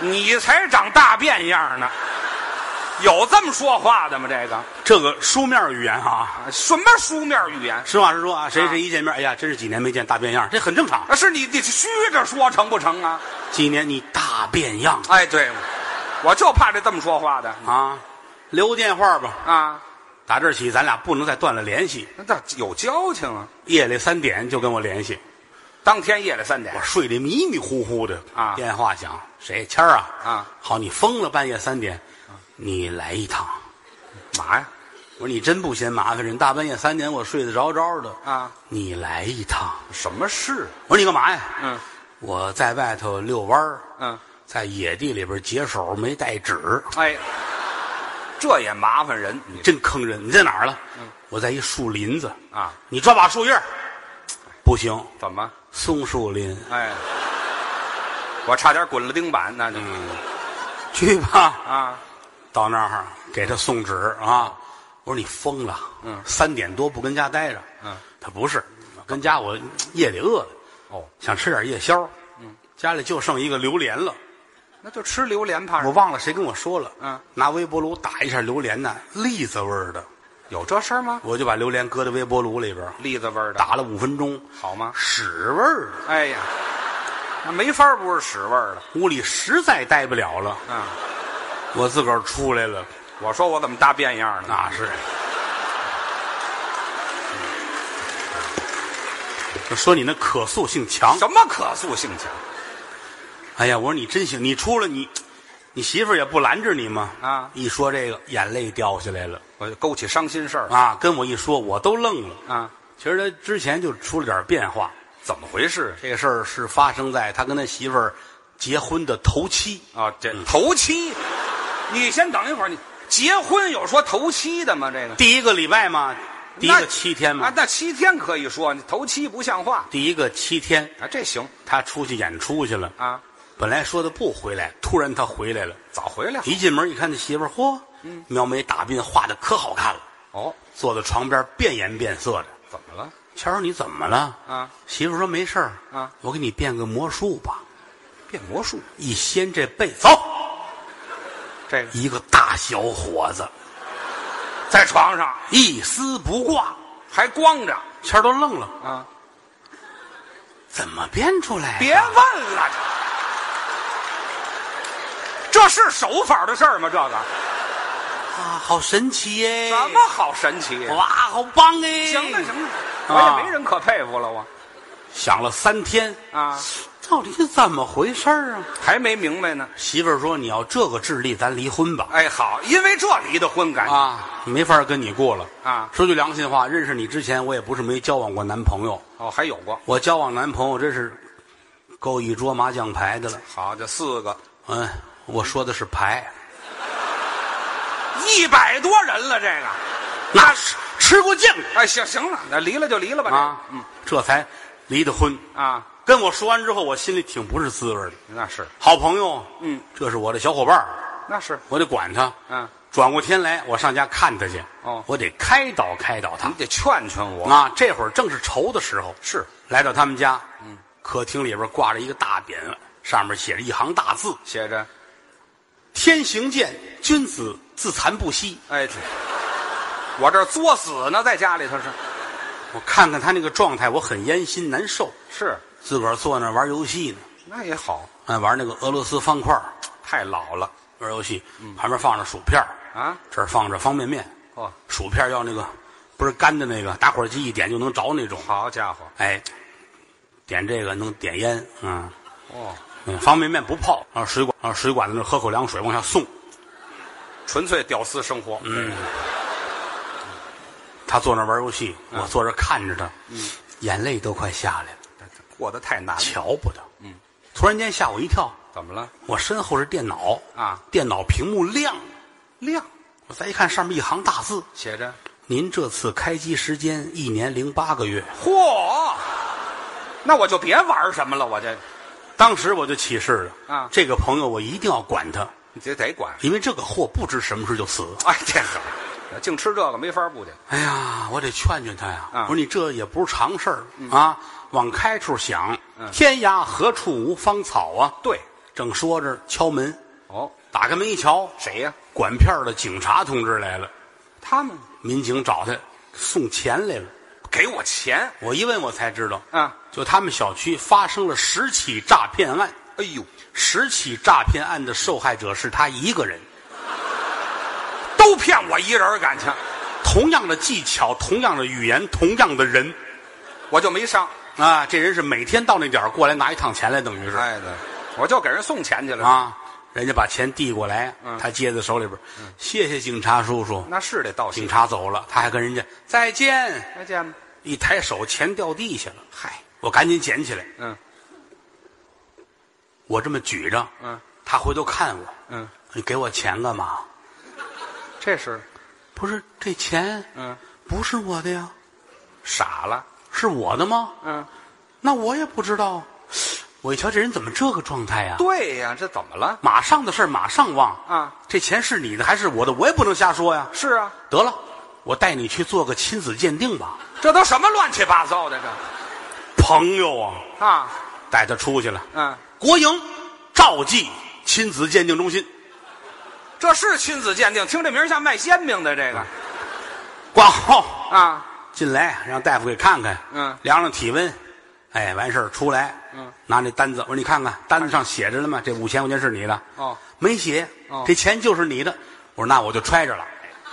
[SPEAKER 2] 你才长大变样呢，有这么说话的吗？这个
[SPEAKER 1] 这个书面语言啊，
[SPEAKER 2] 啊什么书面语言？
[SPEAKER 1] 实话实说啊，谁
[SPEAKER 2] 啊
[SPEAKER 1] 谁一见面，哎呀，真是几年没见大变样，这很正常。
[SPEAKER 2] 啊，是你你虚着说成不成啊？
[SPEAKER 1] 几年你大变样
[SPEAKER 2] 哎，对，我就怕这这么说话的
[SPEAKER 1] 啊，留个电话吧。
[SPEAKER 2] 啊，
[SPEAKER 1] 打这儿起，咱俩不能再断了联系。
[SPEAKER 2] 那倒有交情啊。
[SPEAKER 1] 夜里三点就跟我联系，
[SPEAKER 2] 当天夜里三点
[SPEAKER 1] 我，睡得迷迷糊糊的
[SPEAKER 2] 啊
[SPEAKER 1] 电话响，谁？谦儿啊？
[SPEAKER 2] 啊，
[SPEAKER 1] 好，你疯了，半夜三点，你来一趟。
[SPEAKER 2] 嘛呀？
[SPEAKER 1] 我说你真不嫌麻烦人，大半夜三点我睡得着着的
[SPEAKER 2] 啊，
[SPEAKER 1] 你来一趟。
[SPEAKER 2] 什么事？啊
[SPEAKER 1] 我说你干嘛呀？
[SPEAKER 2] 嗯
[SPEAKER 1] 我在外头遛弯儿，
[SPEAKER 2] 嗯，
[SPEAKER 1] 在野地里边解手，没带纸，
[SPEAKER 2] 哎，这也麻烦人，你
[SPEAKER 1] 真坑人。你在哪儿了？
[SPEAKER 2] 嗯
[SPEAKER 1] 我在一树林子。
[SPEAKER 2] 啊？
[SPEAKER 1] 你抓把树叶儿，不行，
[SPEAKER 2] 怎么？
[SPEAKER 1] 松树林，
[SPEAKER 2] 哎，我差点滚了钉板，那就、
[SPEAKER 1] 去吧。
[SPEAKER 2] 啊。
[SPEAKER 1] 到那儿给他送纸啊！我说你疯了，嗯，三点多不跟家待着，
[SPEAKER 2] 嗯，
[SPEAKER 1] 他不是，跟家我夜里饿了，
[SPEAKER 2] 哦，
[SPEAKER 1] 想吃点夜宵，嗯，家里就剩一个榴莲了，
[SPEAKER 2] 那就吃榴莲怕什
[SPEAKER 1] 我
[SPEAKER 2] 么？
[SPEAKER 1] 忘了谁跟我说了，
[SPEAKER 2] 嗯，
[SPEAKER 1] 拿微波炉打一下榴莲呢，栗子味儿的，
[SPEAKER 2] 有这事儿吗？
[SPEAKER 1] 我就把榴莲搁在微波炉里边儿
[SPEAKER 2] 栗子味儿的，
[SPEAKER 1] 打了五分钟，
[SPEAKER 2] 好吗？
[SPEAKER 1] 屎味儿的，
[SPEAKER 2] 哎呀，那没法不是屎味儿的
[SPEAKER 1] 屋里实在待不了了，
[SPEAKER 2] 啊！
[SPEAKER 1] 我自个儿出来了，
[SPEAKER 2] 我说我怎么大变样了呢？
[SPEAKER 1] 那是。就嗯说你那可塑性强，
[SPEAKER 2] 什么可塑性强
[SPEAKER 1] 哎呀，我说你真行，你出了你，你媳妇儿也不拦着你吗？
[SPEAKER 2] 啊
[SPEAKER 1] 一说这个眼泪掉下来了
[SPEAKER 2] 我就勾起伤心事儿了
[SPEAKER 1] 啊，跟我一说我都愣了。
[SPEAKER 2] 啊！
[SPEAKER 1] 其实他之前就出了点变化，
[SPEAKER 2] 怎么回事
[SPEAKER 1] 这个事儿是发生在他跟他媳妇儿结婚的头七。
[SPEAKER 2] 啊？这头七，你先等一会儿，你结婚有说头七的吗？这个
[SPEAKER 1] 第一个礼拜嘛，第一
[SPEAKER 2] 那
[SPEAKER 1] 个七天
[SPEAKER 2] 啊
[SPEAKER 1] 嘛，，
[SPEAKER 2] 那七天可以说，你头七不像话
[SPEAKER 1] 第一个七天
[SPEAKER 2] 啊，这行
[SPEAKER 1] 他出去演出去了
[SPEAKER 2] 啊，
[SPEAKER 1] 本来说的不回来，突然他回来了。
[SPEAKER 2] 早回来了
[SPEAKER 1] 一进门一看，这媳妇儿，嚯，
[SPEAKER 2] 嗯
[SPEAKER 1] 描眉打鬓画的可好看了，
[SPEAKER 2] 哦，
[SPEAKER 1] 坐在床边变颜变色的。
[SPEAKER 2] 怎么了？
[SPEAKER 1] 谦儿，你怎么了？
[SPEAKER 2] 啊，
[SPEAKER 1] 媳妇儿说没事儿。
[SPEAKER 2] 啊，
[SPEAKER 1] 我给你变个魔术吧，
[SPEAKER 2] 变魔术，
[SPEAKER 1] 一掀这被，走，
[SPEAKER 2] 这个
[SPEAKER 1] 一个大小伙子，
[SPEAKER 2] 在床上
[SPEAKER 1] 一丝不挂。
[SPEAKER 2] 还光着
[SPEAKER 1] 谦儿都愣了，
[SPEAKER 2] 啊！
[SPEAKER 1] 怎么变出来、
[SPEAKER 2] 别问了，这这是手法的事儿吗？这个
[SPEAKER 1] 哎啊，好神奇耶！
[SPEAKER 2] 怎么好神奇？
[SPEAKER 1] 哇，好棒哎！
[SPEAKER 2] 行了行了，
[SPEAKER 1] 啊
[SPEAKER 2] 我也没人可佩服了，我
[SPEAKER 1] 想了三天，
[SPEAKER 2] 啊
[SPEAKER 1] 到底是怎么回事儿啊？
[SPEAKER 2] 还没明白呢。
[SPEAKER 1] 媳妇儿说：“你要这个智力，咱离婚吧。
[SPEAKER 2] 哎，好，因为这离的婚感觉
[SPEAKER 1] 啊，没法跟你过了。
[SPEAKER 2] 啊，
[SPEAKER 1] 说句良心话，认识你之前，我也不是没交往过男朋友。
[SPEAKER 2] 哦，还有过
[SPEAKER 1] 我交往男朋友真是够一桌麻将牌的了。
[SPEAKER 2] 好，这四个
[SPEAKER 1] 嗯，我说的是牌，
[SPEAKER 2] 一百多人了，这个
[SPEAKER 1] 那是吃过酱
[SPEAKER 2] 哎，行行了，那离了就离了吧。
[SPEAKER 1] 啊。
[SPEAKER 2] 这个嗯，
[SPEAKER 1] 这才离的婚。
[SPEAKER 2] 啊，
[SPEAKER 1] 跟我说完之后，我心里挺不是滋味的。
[SPEAKER 2] 那是
[SPEAKER 1] 好朋友，
[SPEAKER 2] 嗯，
[SPEAKER 1] 这是我的小伙伴儿，
[SPEAKER 2] 那是，
[SPEAKER 1] 我得管他。
[SPEAKER 2] 嗯，
[SPEAKER 1] 转过天来，我上家看他去。
[SPEAKER 2] 哦
[SPEAKER 1] 我得开导开导他
[SPEAKER 2] 你。得劝劝我。
[SPEAKER 1] 啊，这会儿正是愁的时候，
[SPEAKER 2] 是
[SPEAKER 1] 来到他们家，嗯，客厅里边挂着一个大匾，上面写着一行大字
[SPEAKER 2] 写着，：“
[SPEAKER 1] 天行健，君子自残不息。
[SPEAKER 2] 哎，这我这儿作死呢，在家里头是”
[SPEAKER 1] 我看看他那个状态，我很烟心难受，
[SPEAKER 2] 是，
[SPEAKER 1] 自个儿坐那儿玩游戏呢，
[SPEAKER 2] 那也好，
[SPEAKER 1] 啊，玩那个俄罗斯方块儿，
[SPEAKER 2] 太老了
[SPEAKER 1] 玩游戏，旁边放着薯片儿，
[SPEAKER 2] 嗯啊。
[SPEAKER 1] 这儿放着方便面，
[SPEAKER 2] 哦，
[SPEAKER 1] 薯片儿要那个不是干的那个，打火机一点就能着那种，
[SPEAKER 2] 好家伙，
[SPEAKER 1] 哎，点这个能点烟，嗯。
[SPEAKER 2] 哦，
[SPEAKER 1] 嗯，方便面不泡，啊，水管啊，水管子那喝口凉水往下送。
[SPEAKER 2] 纯粹屌丝生活。嗯，
[SPEAKER 1] 他坐那玩游戏，
[SPEAKER 2] 嗯
[SPEAKER 1] 我坐这看着他，眼泪都快下来了，
[SPEAKER 2] 过得太难了。
[SPEAKER 1] 瞧不得。嗯，突然间吓我一跳，
[SPEAKER 2] 怎么了？
[SPEAKER 1] 我身后是电脑
[SPEAKER 2] 啊，
[SPEAKER 1] 电脑屏幕亮，
[SPEAKER 2] 亮
[SPEAKER 1] 我再一看上面一行大字：
[SPEAKER 2] 写着，
[SPEAKER 1] 您这次开机时间一年零八个月。
[SPEAKER 2] 嚯，那我就别玩什么了，我这
[SPEAKER 1] 当时我就起誓了，
[SPEAKER 2] 啊
[SPEAKER 1] 这个朋友我一定要管他，
[SPEAKER 2] 你这得管。
[SPEAKER 1] 因为这个货不知什么时就死。
[SPEAKER 2] 哎，这个净吃这个没法不去。
[SPEAKER 1] 哎呀，我得劝劝他呀！
[SPEAKER 2] 啊
[SPEAKER 1] 我说你这也不是常事儿、啊，往开处想，
[SPEAKER 2] 嗯
[SPEAKER 1] 天涯何处无芳草啊！
[SPEAKER 2] 对，
[SPEAKER 1] 正说着，敲门，
[SPEAKER 2] 哦，
[SPEAKER 1] 打开门一瞧，
[SPEAKER 2] 谁呀、
[SPEAKER 1] 管片儿的警察同志来了，
[SPEAKER 2] 他们
[SPEAKER 1] 民警找他送钱来了。
[SPEAKER 2] 给我钱
[SPEAKER 1] 我一问，我才知道，
[SPEAKER 2] 啊！
[SPEAKER 1] 就他们小区发生了十起诈骗案，
[SPEAKER 2] 哎呦，
[SPEAKER 1] 十起诈骗案的受害者是他一个人。
[SPEAKER 2] 都骗我一人儿感情，
[SPEAKER 1] 同样的技巧，同样的语言，同样的人
[SPEAKER 2] 我就没上。
[SPEAKER 1] 啊，这人是每天到那点儿过来拿一趟钱来，等于是。
[SPEAKER 2] 哎的，我就给人送钱去了。
[SPEAKER 1] 啊，人家把钱递过来，他接在手里边，谢谢警察叔叔。
[SPEAKER 2] 嗯那是得道谢
[SPEAKER 1] 警。察走了，他还跟人家再见，
[SPEAKER 2] 再见吧。
[SPEAKER 1] 一抬手钱掉地下了，
[SPEAKER 2] 嗨，
[SPEAKER 1] 我赶紧捡起来，
[SPEAKER 2] 嗯
[SPEAKER 1] 我这么举着，
[SPEAKER 2] 嗯
[SPEAKER 1] 他回头看我，
[SPEAKER 2] 嗯，
[SPEAKER 1] 你给我钱干嘛？
[SPEAKER 2] 这是
[SPEAKER 1] 不是这钱
[SPEAKER 2] 嗯
[SPEAKER 1] 不是我的呀，
[SPEAKER 2] 傻了。
[SPEAKER 1] 是我的吗？
[SPEAKER 2] 嗯，
[SPEAKER 1] 那我也不知道。我一瞧这人怎么这个状态呀、
[SPEAKER 2] 对呀，这怎么了？
[SPEAKER 1] 马上的事儿马上忘
[SPEAKER 2] 啊！
[SPEAKER 1] 这钱是你的还是我的？我也不能瞎说呀。
[SPEAKER 2] 是啊，
[SPEAKER 1] 得了，我带你去做个亲子鉴定吧。
[SPEAKER 2] 这都什么乱七八糟的这
[SPEAKER 1] 朋友啊，
[SPEAKER 2] 啊？
[SPEAKER 1] 带他出去了。
[SPEAKER 2] 嗯，
[SPEAKER 1] 国营赵记亲子鉴定中心
[SPEAKER 2] 这是亲子鉴定，听这名儿像卖煎饼的这个
[SPEAKER 1] 挂号
[SPEAKER 2] 啊。
[SPEAKER 1] 进来，让大夫给看看，
[SPEAKER 2] 嗯
[SPEAKER 1] 量量体温，哎，完事儿出来，
[SPEAKER 2] 嗯，
[SPEAKER 1] 拿那单子，我说你看看，单子上写着了吗？这五千块钱是你的？
[SPEAKER 2] 哦，
[SPEAKER 1] 没写，
[SPEAKER 2] 哦
[SPEAKER 1] 这钱就是你的。我说那我就揣着了，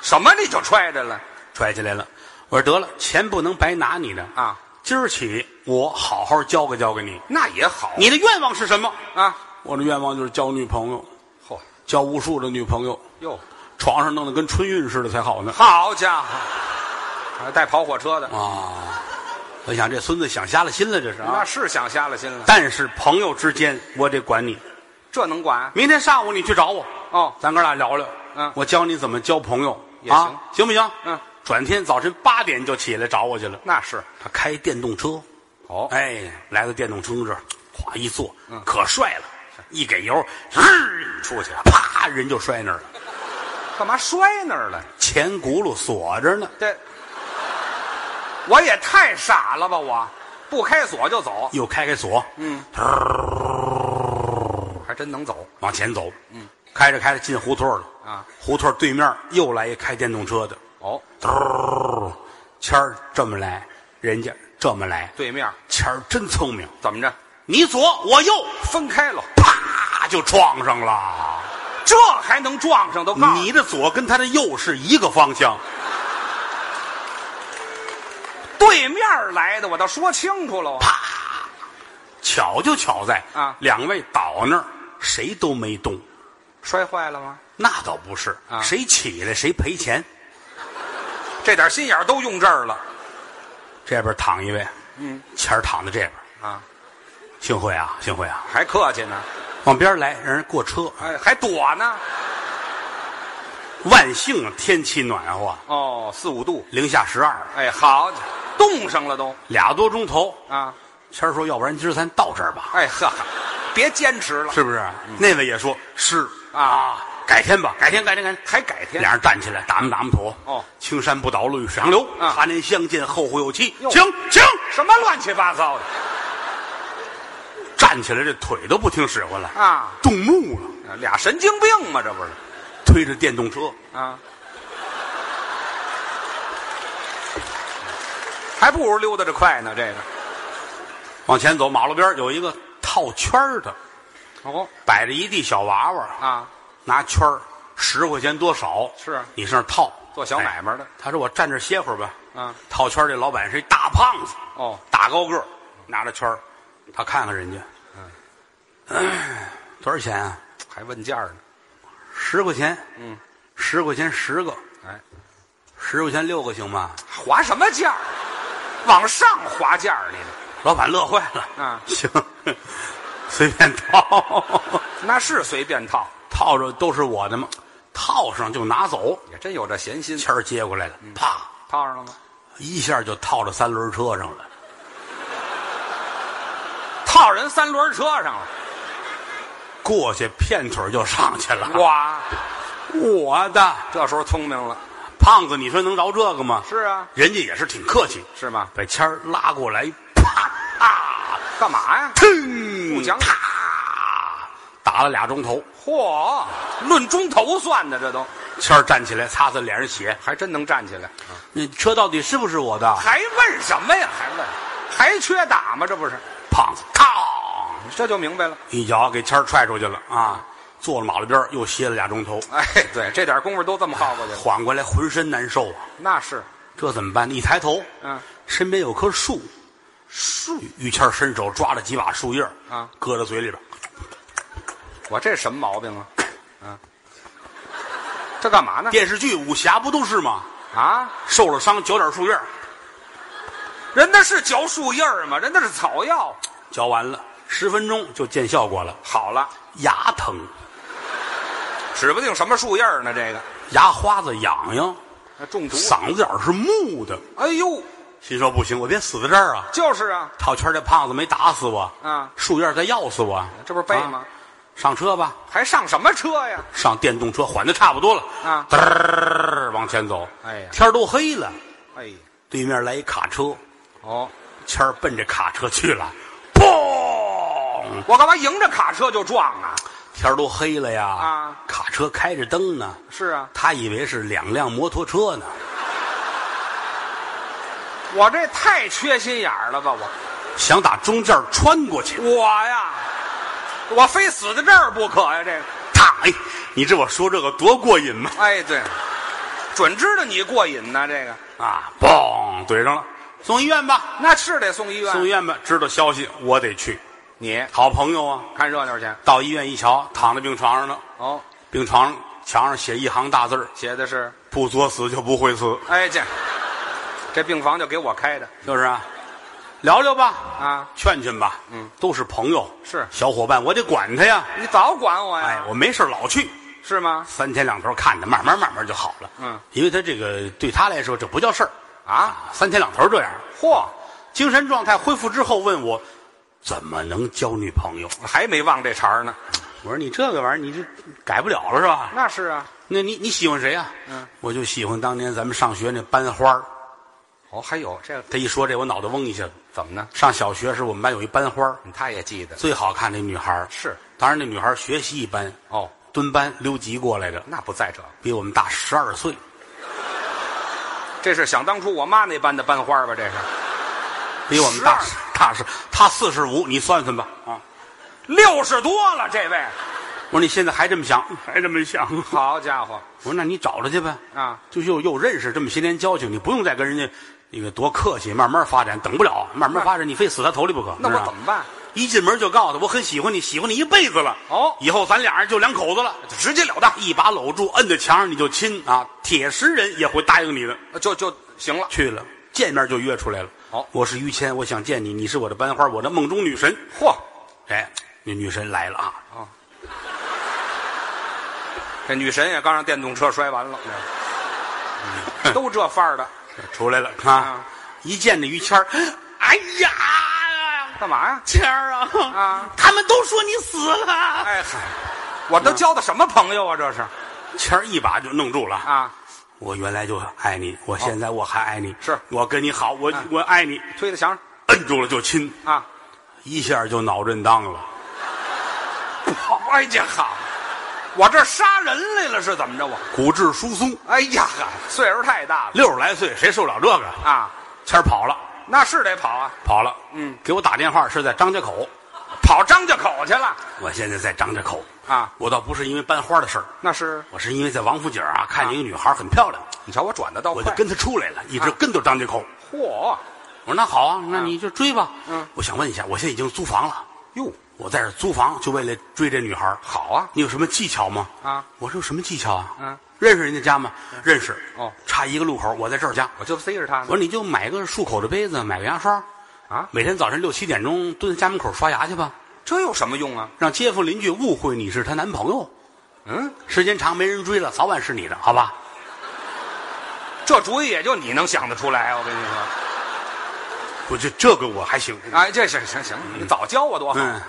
[SPEAKER 2] 什么你就揣着了
[SPEAKER 1] 揣起来了。我说得了，钱不能白拿你的，
[SPEAKER 2] 啊？
[SPEAKER 1] 今儿起我好好教给教给你。
[SPEAKER 2] 那也好
[SPEAKER 1] 你的愿望是什么？
[SPEAKER 2] 啊。
[SPEAKER 1] 我的愿望就是交女朋友，
[SPEAKER 2] 嚯
[SPEAKER 1] 交无数的女朋友，
[SPEAKER 2] 哟，
[SPEAKER 1] 床上弄得跟春运似的才好呢。
[SPEAKER 2] 好家伙，还带跑火车的，
[SPEAKER 1] 啊，我想这孙子想瞎了心了，这是
[SPEAKER 2] 那
[SPEAKER 1] 啊。
[SPEAKER 2] 是想瞎了心了。
[SPEAKER 1] 但是朋友之间，我得管你。
[SPEAKER 2] 这能管？
[SPEAKER 1] 明天上午你去找我，
[SPEAKER 2] 哦，
[SPEAKER 1] 咱哥俩聊聊。
[SPEAKER 2] 嗯
[SPEAKER 1] 我教你怎么交朋友
[SPEAKER 2] 也
[SPEAKER 1] 啊，行不行？
[SPEAKER 2] 嗯，
[SPEAKER 1] 转天早晨八点就起来找我去了。
[SPEAKER 2] 那是。
[SPEAKER 1] 他开电动车，
[SPEAKER 2] 哦，嗯
[SPEAKER 1] 哎，来到电动车这儿，咵一坐，可帅了。一给油，日出去，啪，人就摔那儿了。
[SPEAKER 2] 干嘛摔那儿了？
[SPEAKER 1] 前轱辘锁着呢，
[SPEAKER 2] 这我也太傻了吧！我不开锁就走，
[SPEAKER 1] 又开开锁，
[SPEAKER 2] 嗯，还真能走
[SPEAKER 1] 往前走。嗯，开着开着进胡同了，
[SPEAKER 2] 啊！
[SPEAKER 1] 胡同对面又来一开电动车的，
[SPEAKER 2] 哦，
[SPEAKER 1] 嘟，谦儿这么来，人家这么来，
[SPEAKER 2] 对面
[SPEAKER 1] 谦儿真聪明，
[SPEAKER 2] 怎么着？
[SPEAKER 1] 你左我右，
[SPEAKER 2] 分开了，
[SPEAKER 1] 啪就撞上了。
[SPEAKER 2] 这还能撞上？都告诉
[SPEAKER 1] 你的左跟他的右是一个方向，
[SPEAKER 2] 对面来的，我倒说清楚了。啪，
[SPEAKER 1] 巧就巧在
[SPEAKER 2] 啊
[SPEAKER 1] 两位倒那儿，谁都没动。
[SPEAKER 2] 摔坏了吗？
[SPEAKER 1] 那倒不是，
[SPEAKER 2] 啊
[SPEAKER 1] 谁起来谁赔钱。
[SPEAKER 2] 这点心眼儿都用这儿了
[SPEAKER 1] 这边躺一位，
[SPEAKER 2] 嗯，
[SPEAKER 1] 前儿躺在这边。
[SPEAKER 2] 啊！
[SPEAKER 1] 幸会啊，幸会啊，
[SPEAKER 2] 还客气呢，
[SPEAKER 1] 往边儿来，让人过车。啊
[SPEAKER 2] 哎，还躲呢。
[SPEAKER 1] 万幸天气暖和，
[SPEAKER 2] 哦，四五度，
[SPEAKER 1] 零下十二，
[SPEAKER 2] 哎，好，冻上了都
[SPEAKER 1] 俩多钟头。
[SPEAKER 2] 啊！
[SPEAKER 1] 谦儿说：“要不然今儿咱到这儿吧，
[SPEAKER 2] 哎呵，别坚持了，
[SPEAKER 1] 是不是？”那位也说：“是啊，改天吧，改天，改天，改天。
[SPEAKER 2] 还改”天
[SPEAKER 1] 俩人站起来，打磨打磨土。
[SPEAKER 2] 哦，
[SPEAKER 1] 青山不倒，绿水长流。
[SPEAKER 2] 啊
[SPEAKER 1] 他年相见，后会有期。
[SPEAKER 2] 哟
[SPEAKER 1] 请请，
[SPEAKER 2] 什么乱七八糟的
[SPEAKER 1] 站起来，这腿都不听使唤了，
[SPEAKER 2] 啊！
[SPEAKER 1] 动怒了，
[SPEAKER 2] 俩神经病嘛，这不是
[SPEAKER 1] 推着电动车。
[SPEAKER 2] 啊？还不如溜达着快呢，这个
[SPEAKER 1] 往前走，马路边儿有一个套圈儿的，
[SPEAKER 2] 哦
[SPEAKER 1] 摆着一地小娃娃，
[SPEAKER 2] 啊，
[SPEAKER 1] 拿圈儿，十块钱多少？
[SPEAKER 2] 是啊
[SPEAKER 1] 你上那儿套
[SPEAKER 2] 做小买
[SPEAKER 1] 哎
[SPEAKER 2] 卖的
[SPEAKER 1] 他说我站这儿歇会儿吧。
[SPEAKER 2] 啊，
[SPEAKER 1] 套圈儿这老板是一大胖子，
[SPEAKER 2] 哦，
[SPEAKER 1] 大高个儿，拿着圈儿，他看看人家，嗯， 多少钱啊？
[SPEAKER 2] 还问价呢，
[SPEAKER 1] 十块钱，
[SPEAKER 2] 嗯，
[SPEAKER 1] 十块钱十个，
[SPEAKER 2] 哎，
[SPEAKER 1] 十块钱六个行吗？
[SPEAKER 2] 划什么价？往上划价儿你呢？
[SPEAKER 1] 老板乐坏了，
[SPEAKER 2] 啊
[SPEAKER 1] 行，随便套，
[SPEAKER 2] 那是随便套，
[SPEAKER 1] 套着都是我的嘛，套上就拿走。
[SPEAKER 2] 也真有这闲心，
[SPEAKER 1] 签儿接过来了，
[SPEAKER 2] 嗯
[SPEAKER 1] 啪，
[SPEAKER 2] 套上了吗？
[SPEAKER 1] 一下就套到三轮车上了。
[SPEAKER 2] 套人三轮车上了，
[SPEAKER 1] 过去片腿就上去了。
[SPEAKER 2] 哇，
[SPEAKER 1] 我的
[SPEAKER 2] 这时候聪明了，
[SPEAKER 1] 胖子，你说能饶这个吗？
[SPEAKER 2] 是啊，
[SPEAKER 1] 人家也是挺客气，
[SPEAKER 2] 是吗？
[SPEAKER 1] 把签儿拉过来，啪，啊
[SPEAKER 2] 干嘛呀？
[SPEAKER 1] 腾，
[SPEAKER 2] 不讲理
[SPEAKER 1] 啪，打了俩钟头。
[SPEAKER 2] 嚯，论钟头算的，这都
[SPEAKER 1] 谦儿站起来擦擦脸上血，
[SPEAKER 2] 还真能站起来，
[SPEAKER 1] 那车到底是不是我的？
[SPEAKER 2] 还问什么呀？还问，还缺打吗？这不是，
[SPEAKER 1] 胖子，嘡，
[SPEAKER 2] 这就明白了。
[SPEAKER 1] 一脚给谦儿踹出去了啊！坐了马路边儿又歇了俩钟头，
[SPEAKER 2] 哎，对，这点功夫都这么耗过去了，
[SPEAKER 1] 缓过来浑身难受啊！
[SPEAKER 2] 那是，
[SPEAKER 1] 这怎么办？一抬头，
[SPEAKER 2] 嗯，
[SPEAKER 1] 身边有棵树，树。于谦伸手抓了几把树叶儿
[SPEAKER 2] 啊，
[SPEAKER 1] 搁到嘴里边儿，
[SPEAKER 2] 我这什么毛病啊？啊，这干嘛呢？
[SPEAKER 1] 电视剧武侠不都是吗？
[SPEAKER 2] 啊，
[SPEAKER 1] 受了伤嚼点树叶儿，
[SPEAKER 2] 人那是嚼树叶儿吗？人那是草药。
[SPEAKER 1] 嚼完了十分钟就见效果了，
[SPEAKER 2] 好了，
[SPEAKER 1] 牙疼，
[SPEAKER 2] 指不定什么树叶儿呢。这个
[SPEAKER 1] 牙花子痒痒，
[SPEAKER 2] 那中毒了。
[SPEAKER 1] 嗓子眼儿是木的，
[SPEAKER 2] 哎呦，
[SPEAKER 1] 心说不行，我别死在这儿啊！
[SPEAKER 2] 就是啊，
[SPEAKER 1] 套圈儿这胖子没打死我，
[SPEAKER 2] 啊
[SPEAKER 1] 树叶儿再要死我，
[SPEAKER 2] 这不是背吗？
[SPEAKER 1] 啊上车吧，
[SPEAKER 2] 还上什么车呀？
[SPEAKER 1] 上电动车，缓的差不多了
[SPEAKER 2] 啊
[SPEAKER 1] 嘚儿往前走，
[SPEAKER 2] 哎呀
[SPEAKER 1] 天儿都黑了，
[SPEAKER 2] 哎呀，
[SPEAKER 1] 对面来一卡车。
[SPEAKER 2] 哦，
[SPEAKER 1] 谦儿奔着卡车去了，砰！
[SPEAKER 2] 我干嘛迎着卡车就撞啊？
[SPEAKER 1] 天儿都黑了呀，
[SPEAKER 2] 啊
[SPEAKER 1] 卡车开着灯呢，
[SPEAKER 2] 是啊，
[SPEAKER 1] 他以为是两辆摩托车呢，
[SPEAKER 2] 我这太缺心眼儿了吧？我
[SPEAKER 1] 想打中间穿过去。
[SPEAKER 2] 我呀，我非死在这儿不可呀！这个，
[SPEAKER 1] 啪！哎，你知道我说这个多过瘾吗？
[SPEAKER 2] 哎，对，准知道你过瘾呢、这个，
[SPEAKER 1] 啊，嘣，怼上了，送医院吧，
[SPEAKER 2] 那是得送医院。
[SPEAKER 1] 送医院吧。知道消息，我得去。
[SPEAKER 2] 你
[SPEAKER 1] 好朋友啊，
[SPEAKER 2] 看热闹去。
[SPEAKER 1] 到医院一瞧，躺在病床上呢，
[SPEAKER 2] 哦，
[SPEAKER 1] 病床上墙上写一行大字儿
[SPEAKER 2] 写的是，
[SPEAKER 1] 不作死就不会死，
[SPEAKER 2] 哎，这这病房就给我开的
[SPEAKER 1] 就是啊，聊聊吧，
[SPEAKER 2] 啊！
[SPEAKER 1] 劝劝吧，嗯，都是朋友，
[SPEAKER 2] 是
[SPEAKER 1] 小伙伴，我得管他呀。
[SPEAKER 2] 你早管我
[SPEAKER 1] 哎
[SPEAKER 2] 呀，，
[SPEAKER 1] 我没事老去，
[SPEAKER 2] 是吗？
[SPEAKER 1] 三天两头看他，慢慢慢慢就好了。
[SPEAKER 2] 嗯，
[SPEAKER 1] 因为他这个对他来说这不叫事儿
[SPEAKER 2] 啊，
[SPEAKER 1] 啊，三天两头这样。
[SPEAKER 2] 嚯，
[SPEAKER 1] 精神状态恢复之后问我，怎么能交女朋友？
[SPEAKER 2] 还没忘这茬儿呢。
[SPEAKER 1] 我说你这个玩意儿，你这改不了了是吧？
[SPEAKER 2] 那是啊，
[SPEAKER 1] 那你你喜欢谁啊？
[SPEAKER 2] 嗯，
[SPEAKER 1] 我就喜欢当年咱们上学那班花儿
[SPEAKER 2] 哦，还有这个
[SPEAKER 1] 他一说这，我脑袋嗡一下子。
[SPEAKER 2] 怎么呢？
[SPEAKER 1] 上小学时，我们班有一班花儿
[SPEAKER 2] 他也记得
[SPEAKER 1] 最好看的女孩儿
[SPEAKER 2] 是
[SPEAKER 1] 当然那女孩儿学习一般，
[SPEAKER 2] 哦，
[SPEAKER 1] 蹲班溜级过来的，
[SPEAKER 2] 那不在这儿。
[SPEAKER 1] 比我们大十二岁。
[SPEAKER 2] 这是想当初我妈那班的班花吧？这是
[SPEAKER 1] 比我们大
[SPEAKER 2] 12
[SPEAKER 1] 大是，他四十五，你算算吧啊！
[SPEAKER 2] 六十多了，这位，
[SPEAKER 1] 我说你现在还这么想，还这么想？ 我
[SPEAKER 2] 好家伙
[SPEAKER 1] 说那你找着去呗
[SPEAKER 2] 啊！
[SPEAKER 1] 就又又认识这么些年交情，你不用再跟人家那个多客气，慢慢发展，等不了，慢慢发展，你非死他头里不可。
[SPEAKER 2] 那
[SPEAKER 1] 知道
[SPEAKER 2] 我
[SPEAKER 1] 吗
[SPEAKER 2] 怎么办？
[SPEAKER 1] 一进门就告诉他我很喜欢你，喜欢你一辈子了。
[SPEAKER 2] 哦
[SPEAKER 1] 以后咱俩人就两口子了，直截了当，一把搂住，摁在墙上你就亲啊，铁石人也会答应你的。
[SPEAKER 2] 就就行了。
[SPEAKER 1] 去了，见面就约出来了。
[SPEAKER 2] 好
[SPEAKER 1] 我是于谦，我想见你，你是我的班花，我的梦中女神。
[SPEAKER 2] 嚯，
[SPEAKER 1] 哎，那女神来了啊！
[SPEAKER 2] 这女神也刚让电动车摔完了，嗯都这范儿的，
[SPEAKER 1] 出来了啊
[SPEAKER 2] 啊！
[SPEAKER 1] 一见这于谦儿， 哎呀，
[SPEAKER 2] 干嘛呀？
[SPEAKER 1] 谦儿啊
[SPEAKER 2] 啊，
[SPEAKER 1] 他们都说你死了。
[SPEAKER 2] 哎嗨，我都交的什么朋友啊？这是
[SPEAKER 1] 谦儿一把就弄住了啊！
[SPEAKER 2] 啊，
[SPEAKER 1] 我原来就爱你，我现在我还爱你，
[SPEAKER 2] 是啊
[SPEAKER 1] 我跟你好，我我爱你，
[SPEAKER 2] 推在墙上
[SPEAKER 1] 摁住了就亲，
[SPEAKER 2] 啊，
[SPEAKER 1] 一下就脑震荡了。
[SPEAKER 2] 好，哎呀好，我这杀人来了是怎么着？我
[SPEAKER 1] 骨质疏松，
[SPEAKER 2] 哎呀，岁数太大了
[SPEAKER 1] 六十来岁谁受了这个？
[SPEAKER 2] 啊，
[SPEAKER 1] 谦儿跑了，
[SPEAKER 2] 那是得跑啊，
[SPEAKER 1] 跑了。
[SPEAKER 2] 嗯，
[SPEAKER 1] 给我打电话是在张家口，
[SPEAKER 2] 跑张家口去了
[SPEAKER 1] 我现在在张家口。
[SPEAKER 2] 啊，
[SPEAKER 1] 我倒不是因为班花的事儿，
[SPEAKER 2] 那是
[SPEAKER 1] 我是因为在王府井啊看见一个女孩很漂亮，
[SPEAKER 2] 你瞧我转的倒
[SPEAKER 1] 我
[SPEAKER 2] 哦快啊
[SPEAKER 1] 就，跟她出来了，一直跟到张家口。
[SPEAKER 2] 嚯
[SPEAKER 1] 我说那好啊，那你就追吧。
[SPEAKER 2] 嗯，
[SPEAKER 1] 我想问一下，我现在已经租房了，
[SPEAKER 2] 哟，
[SPEAKER 1] 我在这租房就为了追这女孩儿，
[SPEAKER 2] 好啊
[SPEAKER 1] 你有什么技巧吗？
[SPEAKER 2] 啊，
[SPEAKER 1] 我说有什么技巧啊？
[SPEAKER 2] 嗯，
[SPEAKER 1] 认识人家家吗？认识。
[SPEAKER 2] 哦，
[SPEAKER 1] 差一个路口，我在这儿家。
[SPEAKER 2] 我就塞着他
[SPEAKER 1] 我
[SPEAKER 2] 呢
[SPEAKER 1] 说你就买个漱口的杯子，买个牙刷，
[SPEAKER 2] 啊，
[SPEAKER 1] 每天早晨六七点钟蹲在家门口刷牙去吧，
[SPEAKER 2] 这有什么用啊？
[SPEAKER 1] 让街坊邻居误会你是她男朋友。
[SPEAKER 2] 嗯，
[SPEAKER 1] 时间长没人追了，早晚是你的，好吧？
[SPEAKER 2] 这主意也就你能想得出来，啊我跟你说，
[SPEAKER 1] 我这这个我还行。
[SPEAKER 2] 哎，这行行行，你早教我多好，
[SPEAKER 1] 嗯，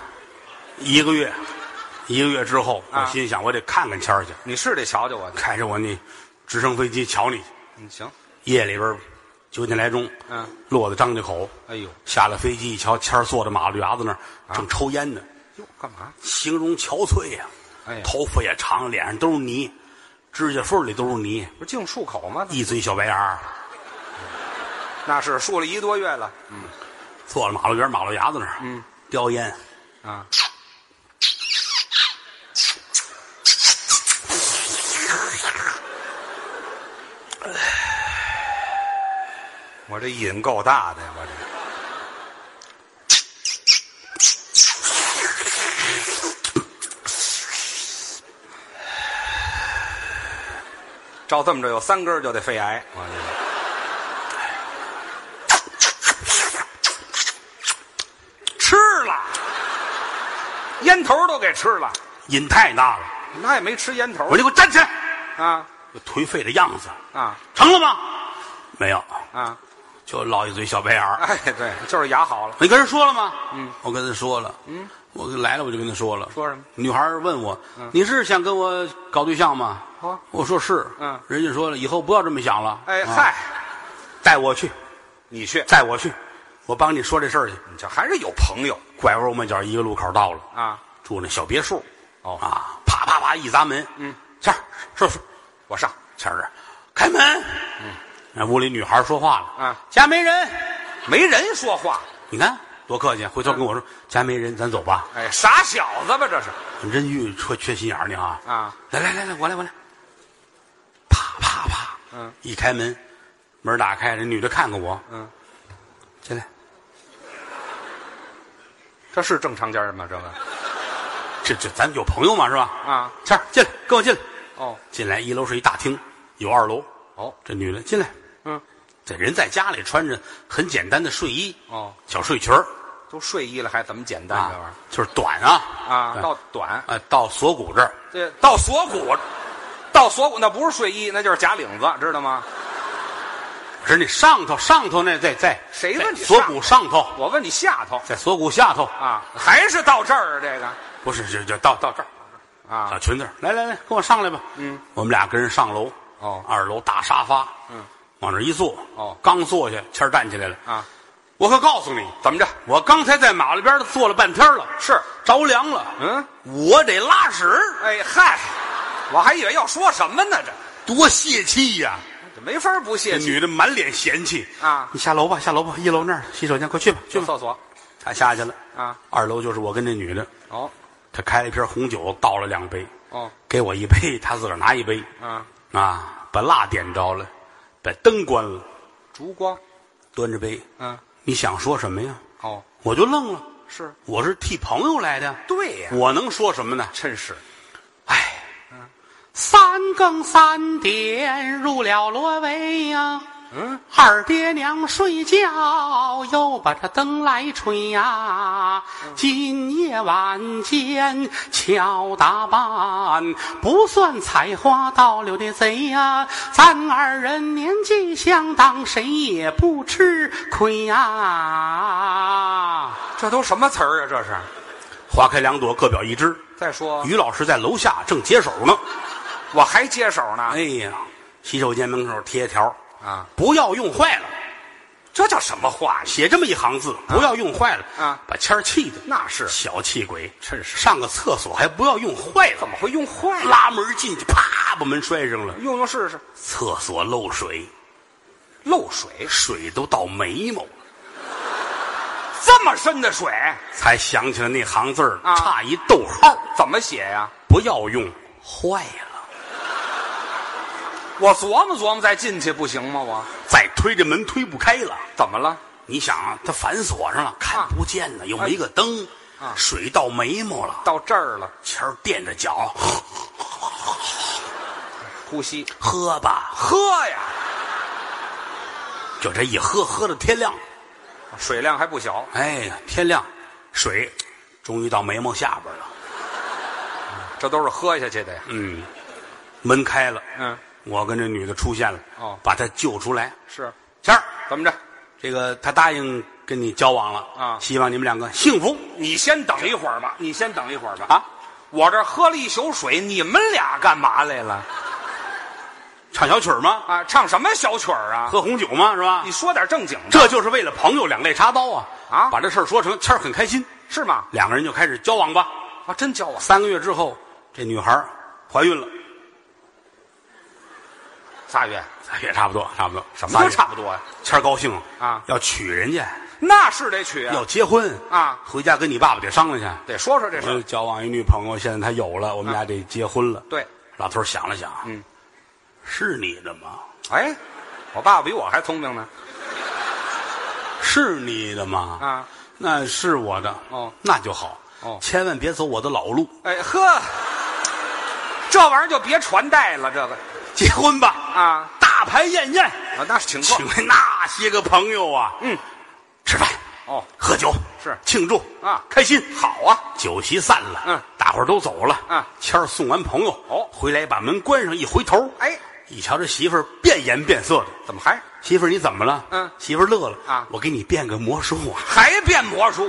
[SPEAKER 1] 一个月，一个月之后，我
[SPEAKER 2] 啊
[SPEAKER 1] 心想我得看看谦儿去。
[SPEAKER 2] 你是得瞧瞧我，
[SPEAKER 1] 开着我那直升飞机瞧你，
[SPEAKER 2] 嗯，行，
[SPEAKER 1] 夜里边九点来钟，
[SPEAKER 2] 嗯，
[SPEAKER 1] 落在张家口，
[SPEAKER 2] 哎呦，
[SPEAKER 1] 下了飞机一瞧，谦儿坐在马路牙子那儿正抽烟呢，
[SPEAKER 2] 哟，干嘛？
[SPEAKER 1] 形容憔悴呀、
[SPEAKER 2] 哎呀
[SPEAKER 1] 头发也长，脸上都是泥，指甲缝里都是泥，
[SPEAKER 2] 不是净漱口吗？
[SPEAKER 1] 一嘴小白牙儿，
[SPEAKER 2] 那是漱了一个多月了
[SPEAKER 1] 坐在马路边马路牙子那儿，嗯，叼烟，
[SPEAKER 2] 啊，我这瘾够大的呀，我这照这么着有三根儿就得肺癌，我这个。吃了，烟头都给吃了，
[SPEAKER 1] 瘾太大了。
[SPEAKER 2] 那也没吃烟头
[SPEAKER 1] 我说你给我站起来，
[SPEAKER 2] 啊
[SPEAKER 1] 就颓废的样子，
[SPEAKER 2] 啊
[SPEAKER 1] 成了吗？没有，
[SPEAKER 2] 啊！
[SPEAKER 1] 就落一嘴小白牙儿。
[SPEAKER 2] 哎，对，就是牙好了，
[SPEAKER 1] 你跟人说了吗？嗯，我跟他说了。嗯，我来了我就跟他说了。
[SPEAKER 2] 说什么嗯
[SPEAKER 1] 女孩儿问我：“你是想跟我搞对象吗？”
[SPEAKER 2] 哦
[SPEAKER 1] 我说是。
[SPEAKER 2] 嗯
[SPEAKER 1] 人家说了，以后不要这么想了。
[SPEAKER 2] 哎
[SPEAKER 1] 啊，
[SPEAKER 2] 嗨，
[SPEAKER 1] 带我去，
[SPEAKER 2] 你去，
[SPEAKER 1] 带我去，我帮你说这事儿去。
[SPEAKER 2] 你这还是有朋友
[SPEAKER 1] 拐弯抹角，一个路口到了，
[SPEAKER 2] 啊！
[SPEAKER 1] 住那小别墅。
[SPEAKER 2] 哦
[SPEAKER 1] 啊，啪啪啪一砸门。嗯，谦儿，说说，
[SPEAKER 2] 我上，
[SPEAKER 1] 谦儿啊，开门。嗯，那屋里女孩儿说话了。
[SPEAKER 2] 啊，
[SPEAKER 1] 家没人。
[SPEAKER 2] 没人说话，
[SPEAKER 1] 你看多客气，回头跟我说家没人，咱走吧。
[SPEAKER 2] 哎，傻小子吧，这是
[SPEAKER 1] 真玉缺缺心眼儿呢啊！
[SPEAKER 2] 啊，
[SPEAKER 1] 来来来来，我来我来，啪啪啪，
[SPEAKER 2] 嗯，
[SPEAKER 1] 一开门，门打开，这女的看看我，
[SPEAKER 2] 嗯，
[SPEAKER 1] 进来，
[SPEAKER 2] 这是正常家人吗？这个
[SPEAKER 1] 这这咱有朋友嘛是吧？
[SPEAKER 2] 啊，
[SPEAKER 1] 谦儿进来，跟我进来，
[SPEAKER 2] 哦
[SPEAKER 1] 进来一楼是一大厅，有二楼，
[SPEAKER 2] 哦，
[SPEAKER 1] 这女的进来，
[SPEAKER 2] 嗯，
[SPEAKER 1] 这人在家里穿着很简单的睡衣，
[SPEAKER 2] 哦，
[SPEAKER 1] 小睡裙儿
[SPEAKER 2] 都睡衣了，还怎么简单这玩
[SPEAKER 1] 啊
[SPEAKER 2] 意，
[SPEAKER 1] 就是短啊
[SPEAKER 2] 儿啊？
[SPEAKER 1] 对
[SPEAKER 2] 到短，
[SPEAKER 1] 啊到锁骨这儿，
[SPEAKER 2] 这到锁骨，到锁骨那不是睡衣，那就是假领子，知道吗？
[SPEAKER 1] 是你上头上头那在在
[SPEAKER 2] 谁问你
[SPEAKER 1] 在锁
[SPEAKER 2] 上
[SPEAKER 1] 骨上头，
[SPEAKER 2] 我问你下头
[SPEAKER 1] 在锁骨下头，
[SPEAKER 2] 啊，还是到这儿啊？这个
[SPEAKER 1] 不是就就到到这儿，小
[SPEAKER 2] 啊，
[SPEAKER 1] 裙子，来来来，跟我上来吧。
[SPEAKER 2] 嗯，
[SPEAKER 1] 我们俩跟人上楼。
[SPEAKER 2] 哦
[SPEAKER 1] 二楼大沙发。嗯，往那儿一坐。
[SPEAKER 2] 哦
[SPEAKER 1] 刚坐下，谦儿站起来了。
[SPEAKER 2] 啊，
[SPEAKER 1] 我可告诉你，
[SPEAKER 2] 怎么着？
[SPEAKER 1] 我刚才在马路边儿坐了半天了，
[SPEAKER 2] 是，
[SPEAKER 1] 着凉了。
[SPEAKER 2] 嗯，
[SPEAKER 1] 我得拉屎，
[SPEAKER 2] 哎嗨，我还以为要说什么呢，这
[SPEAKER 1] 多泄气呀、
[SPEAKER 2] 这没法
[SPEAKER 1] 这
[SPEAKER 2] 不泄气
[SPEAKER 1] 女的满脸嫌弃
[SPEAKER 2] 啊
[SPEAKER 1] 你下楼吧，下楼吧，一楼那儿洗手间，快去吧，去
[SPEAKER 2] 去
[SPEAKER 1] 吧。
[SPEAKER 2] 厕所
[SPEAKER 1] 她下去了。
[SPEAKER 2] 啊，
[SPEAKER 1] 二楼就是我跟这女的，
[SPEAKER 2] 哦
[SPEAKER 1] 她开了一瓶红酒，倒了两杯，
[SPEAKER 2] 哦
[SPEAKER 1] 给我一杯，她自个儿拿一杯。
[SPEAKER 2] 啊，
[SPEAKER 1] 啊，把蜡点着了，把灯关了，
[SPEAKER 2] 烛光，
[SPEAKER 1] 端着杯，
[SPEAKER 2] 嗯，
[SPEAKER 1] 你想说什么呀？
[SPEAKER 2] 哦，
[SPEAKER 1] 我就愣了，
[SPEAKER 2] 是
[SPEAKER 1] 我是替朋友来的，
[SPEAKER 2] 对呀，
[SPEAKER 1] 我能说什么呢？
[SPEAKER 2] 真是
[SPEAKER 1] 哎，三更三点入了罗帷呀，
[SPEAKER 2] 嗯，
[SPEAKER 1] 二爹娘睡觉又把这灯来吹呀，今夜晚间巧打扮，不算采花盗柳的贼呀，咱二人年纪相当，谁也不吃亏呀。
[SPEAKER 2] 这都什么词儿啊？这是。
[SPEAKER 1] 花开两朵，各表一枝。
[SPEAKER 2] 再说，
[SPEAKER 1] 于老师在楼下正解手呢。
[SPEAKER 2] 我还接手呢
[SPEAKER 1] 哎呀，洗手间门口贴条，
[SPEAKER 2] 啊！
[SPEAKER 1] 不要用坏了，
[SPEAKER 2] 这叫什么话呀？
[SPEAKER 1] 写这么一行字，不要用坏了
[SPEAKER 2] 啊
[SPEAKER 1] 把谦儿气的
[SPEAKER 2] 那是
[SPEAKER 1] 小气鬼，
[SPEAKER 2] 真是
[SPEAKER 1] 上个厕所还不要用坏了，
[SPEAKER 2] 怎么会用坏了？
[SPEAKER 1] 拉门进去，啪把门摔上了，
[SPEAKER 2] 用用试试，
[SPEAKER 1] 厕所漏水，
[SPEAKER 2] 漏水
[SPEAKER 1] 水都到眉毛了，
[SPEAKER 2] 这么深的水
[SPEAKER 1] 才想起来那行字儿、
[SPEAKER 2] 啊
[SPEAKER 1] 差一逗号，
[SPEAKER 2] 怎么写呀？
[SPEAKER 1] 不要用坏了，
[SPEAKER 2] 我琢磨琢磨再进去不行吗？我
[SPEAKER 1] 再推这门推不开了。
[SPEAKER 2] 怎么了？
[SPEAKER 1] 你想啊，它反锁上了，看
[SPEAKER 2] 啊
[SPEAKER 1] 不见呢，又没个灯，
[SPEAKER 2] 啊
[SPEAKER 1] 水到眉毛了，
[SPEAKER 2] 到这儿了，
[SPEAKER 1] 前儿垫着脚，
[SPEAKER 2] 呼吸，
[SPEAKER 1] 喝吧，
[SPEAKER 2] 喝呀，
[SPEAKER 1] 就这一喝，喝到天亮，
[SPEAKER 2] 水量还不小，
[SPEAKER 1] 哎呀，天亮，水终于到眉毛下边了，
[SPEAKER 2] 这都是喝下去的呀。
[SPEAKER 1] 嗯，门开了，
[SPEAKER 2] 嗯，
[SPEAKER 1] 我跟这女的出现了，
[SPEAKER 2] 哦
[SPEAKER 1] 把她救出来，
[SPEAKER 2] 是，
[SPEAKER 1] 谦儿，
[SPEAKER 2] 怎么着？
[SPEAKER 1] 这个她答应跟你交往了
[SPEAKER 2] 啊
[SPEAKER 1] 希望你们两个幸福
[SPEAKER 2] 你先等一会儿吧，你先等一会儿吧。
[SPEAKER 1] 啊，
[SPEAKER 2] 我这喝了一宿水，你们俩干嘛来了？
[SPEAKER 1] 唱小曲儿吗？
[SPEAKER 2] 啊，唱什么小曲儿啊？
[SPEAKER 1] 喝红酒吗？是吧
[SPEAKER 2] 你？说点正经的，
[SPEAKER 1] 这就是为了朋友两肋插刀啊！
[SPEAKER 2] 啊
[SPEAKER 1] 把这事儿说成，谦儿很开心。
[SPEAKER 2] 是吗？
[SPEAKER 1] 两个人就开始交往吧。
[SPEAKER 2] 啊，真教我
[SPEAKER 1] 三个月之后，这女孩儿怀孕了，
[SPEAKER 2] 仨月，
[SPEAKER 1] 仨月差不多，差不多，
[SPEAKER 2] 什么都
[SPEAKER 1] 仨
[SPEAKER 2] 差
[SPEAKER 1] 月
[SPEAKER 2] 不多呀、
[SPEAKER 1] 谦儿高兴
[SPEAKER 2] 啊
[SPEAKER 1] 要娶人家，
[SPEAKER 2] 那是得娶啊
[SPEAKER 1] 要，结婚
[SPEAKER 2] 啊
[SPEAKER 1] 回家跟你爸爸得商量去。
[SPEAKER 2] 得说说这事
[SPEAKER 1] 我
[SPEAKER 2] 儿。
[SPEAKER 1] 就交往一女朋友，现在她有了，我们俩得结婚了。
[SPEAKER 2] 啊对，
[SPEAKER 1] 老头儿想了想，
[SPEAKER 2] 嗯，
[SPEAKER 1] 是你的吗？
[SPEAKER 2] 哎，我爸爸比我还聪明呢。
[SPEAKER 1] 是你的吗？
[SPEAKER 2] 啊，
[SPEAKER 1] 那是我的。
[SPEAKER 2] 哦，
[SPEAKER 1] 那就好。
[SPEAKER 2] 哦
[SPEAKER 1] 千万别走我的老路，
[SPEAKER 2] 哎呵，这玩意儿就别传代了，这个
[SPEAKER 1] 结婚吧，
[SPEAKER 2] 啊
[SPEAKER 1] 大排宴宴，
[SPEAKER 2] 啊，那是请客
[SPEAKER 1] 请来那些个朋友啊，
[SPEAKER 2] 嗯，
[SPEAKER 1] 吃饭，
[SPEAKER 2] 哦，
[SPEAKER 1] 喝酒
[SPEAKER 2] 是
[SPEAKER 1] 庆祝
[SPEAKER 2] 啊
[SPEAKER 1] 开心。
[SPEAKER 2] 好啊，
[SPEAKER 1] 酒席散了，
[SPEAKER 2] 嗯，
[SPEAKER 1] 大伙儿都走了，
[SPEAKER 2] 嗯
[SPEAKER 1] 谦儿送完朋友，
[SPEAKER 2] 哦
[SPEAKER 1] 回来把门关上，一回头，
[SPEAKER 2] 哎，
[SPEAKER 1] 一瞧这媳妇儿变颜变色的，
[SPEAKER 2] 怎么还
[SPEAKER 1] 媳妇儿你怎么了？
[SPEAKER 2] 嗯
[SPEAKER 1] 媳妇儿乐了
[SPEAKER 2] 啊
[SPEAKER 1] 我给你变个魔术啊，
[SPEAKER 2] 还变魔术？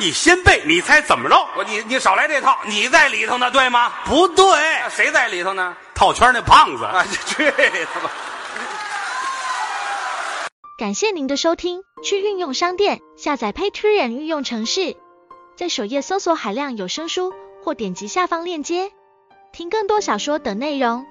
[SPEAKER 1] 一掀被，你猜怎么着？
[SPEAKER 2] 我你你少来这套，你在里头呢，对吗？
[SPEAKER 1] 不对，
[SPEAKER 2] 哎谁在里头呢？
[SPEAKER 1] 套圈那胖子，
[SPEAKER 2] 啊，去他妈！
[SPEAKER 3] 感谢您的收听，去应用商店下载 Patreon 应用城市，在首页搜索海量有声书，或点击下方链接听更多小说等内容。